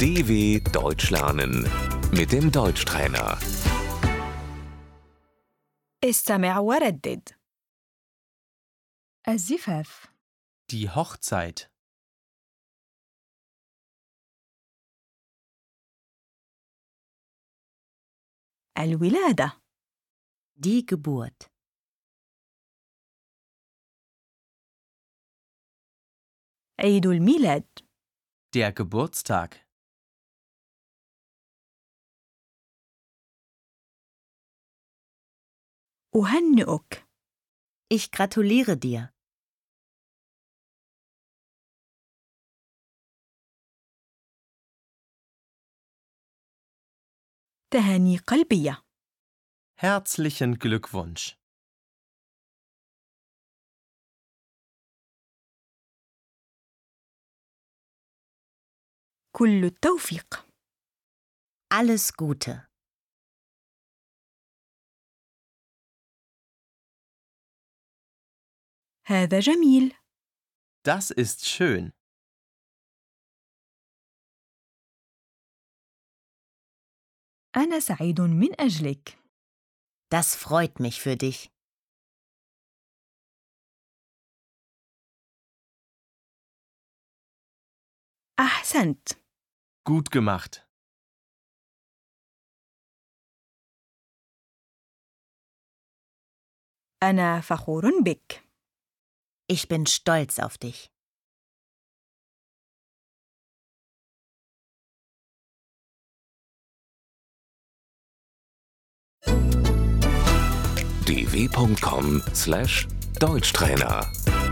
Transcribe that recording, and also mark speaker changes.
Speaker 1: DW Deutsch lernen mit dem Deutschtrainer.
Speaker 2: استمع وردد الزفاف
Speaker 3: Die Hochzeit.
Speaker 2: الولادة
Speaker 4: Die Geburt.
Speaker 2: عيد الميلاد
Speaker 3: Der Geburtstag.
Speaker 2: أهنئك
Speaker 4: Ich gratuliere dir.
Speaker 2: تهاني قلبية
Speaker 3: Herzlichen Glückwunsch.
Speaker 2: كل التوفيق
Speaker 4: Alles Gute.
Speaker 2: هذا جميل
Speaker 3: Das ist schön.
Speaker 2: أنا سعيد من أجلك
Speaker 4: Das freut mich für dich.
Speaker 2: أحسنت
Speaker 3: Gut gemacht.
Speaker 2: أنا فخور بك
Speaker 4: Ich bin stolz auf dich.
Speaker 1: dw.com/deutschtrainer